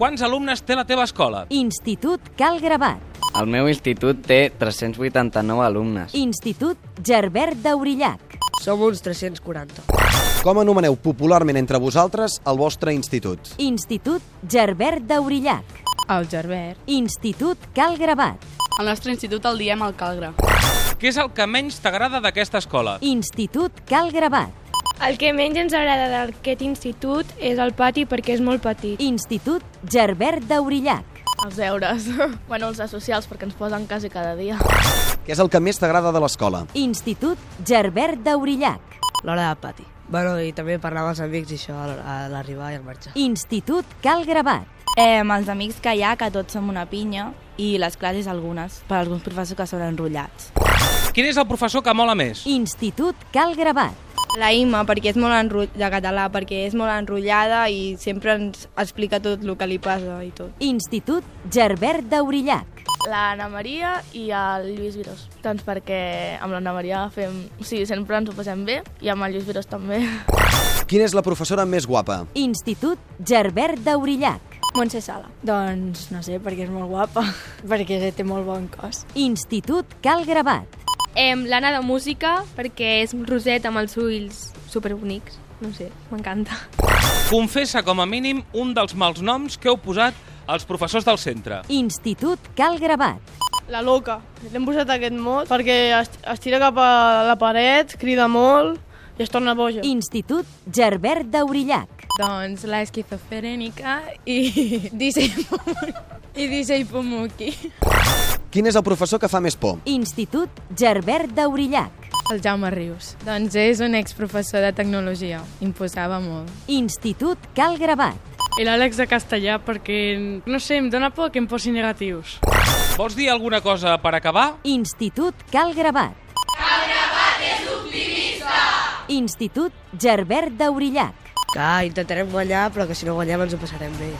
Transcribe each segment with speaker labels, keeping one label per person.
Speaker 1: Quants alumnes té la teva escola?
Speaker 2: Institut Cal Gravat.
Speaker 3: El meu institut té 389 alumnes.
Speaker 2: Institut Gerbert d'Aurillac.
Speaker 4: Som uns 340.
Speaker 5: Com anomeneu popularment entre vosaltres el vostre institut?
Speaker 2: Institut Gerbert d'Aurillac.
Speaker 6: El Gerbert.
Speaker 2: Institut Cal Gravat.
Speaker 7: Al nostre institut el diem el Calgra.
Speaker 1: Què és el que menys t'agrada d'aquesta escola?
Speaker 2: Institut Cal Gravat.
Speaker 8: El que menys ens agrada d'aquest institut és el pati perquè és molt petit.
Speaker 2: Institut Gerbert d'Aurillac.
Speaker 7: Els deures. bueno, els de socials, perquè ens posen quasi cada dia.
Speaker 5: Què és el que més t'agrada de l'escola?
Speaker 2: Institut Gerbert d'Aurillac.
Speaker 4: L'hora del pati. Bueno, i també parlar amb els amics i això a l'hora- a l'arribar i al marxar.
Speaker 2: Institut Cal Gravat.
Speaker 6: Eh, amb els amics que hi ha, que tots som una pinya, i les classes algunes, per alguns professors que són enrotllats.
Speaker 1: Quin és el professor que mola més?
Speaker 2: Institut Cal Gravat.
Speaker 6: La Imma, perquè és molt enrotllada, de català, perquè és molt enrotllada i sempre ens explica tot el que li passa i tot.
Speaker 2: Institut Gerbert d'Aurillac.
Speaker 7: L'Anna Maria i el Lluís Virós. Doncs perquè amb l'Anna Maria fem... O sigui, sempre ens ho passem bé i amb el Lluís Virós també.
Speaker 5: Quina és la professora més guapa?
Speaker 2: Institut Gerbert d'Aurillac.
Speaker 6: Montse Sala.
Speaker 9: Doncs no sé, perquè és molt guapa, perquè té molt bon cos.
Speaker 2: Institut Cal Gravat.
Speaker 8: Em, L'Anna de música perquè és roset amb els ulls superbonics. No sé, m'encanta.
Speaker 1: Confessa com a mínim un dels mals noms que heu posat als professors del centre.
Speaker 2: Institut Cal Gravat.
Speaker 7: La loca. L'hem posat aquest mot perquè estira cap a la paret, crida molt i es torna boja.
Speaker 2: Institut Gerbert d'Aurillac.
Speaker 6: Doncs la esquizofrènica i Disei Pomoki. I Disei Pomoki.
Speaker 5: Quin és el professor que fa més por?
Speaker 2: Institut Gerbert d'Aurillac.
Speaker 6: El Jaume Rius. Doncs és un exprofessor de tecnologia. Imposava molt.
Speaker 2: Institut Cal Gravat.
Speaker 10: I l'Àlex de castellà perquè, no sé, em dóna por que em posi negatius.
Speaker 1: Vols dir alguna cosa per acabar?
Speaker 2: Institut Cal Gravat. Cal Gravat és optimista! Institut Gerbert d'Aurillac.
Speaker 4: Que intentarem guanyar, però que si no guanyem ens ho passarem bé.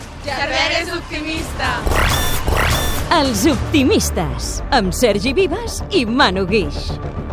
Speaker 2: Els optimistes, amb Sergi Vives i Manu Guix.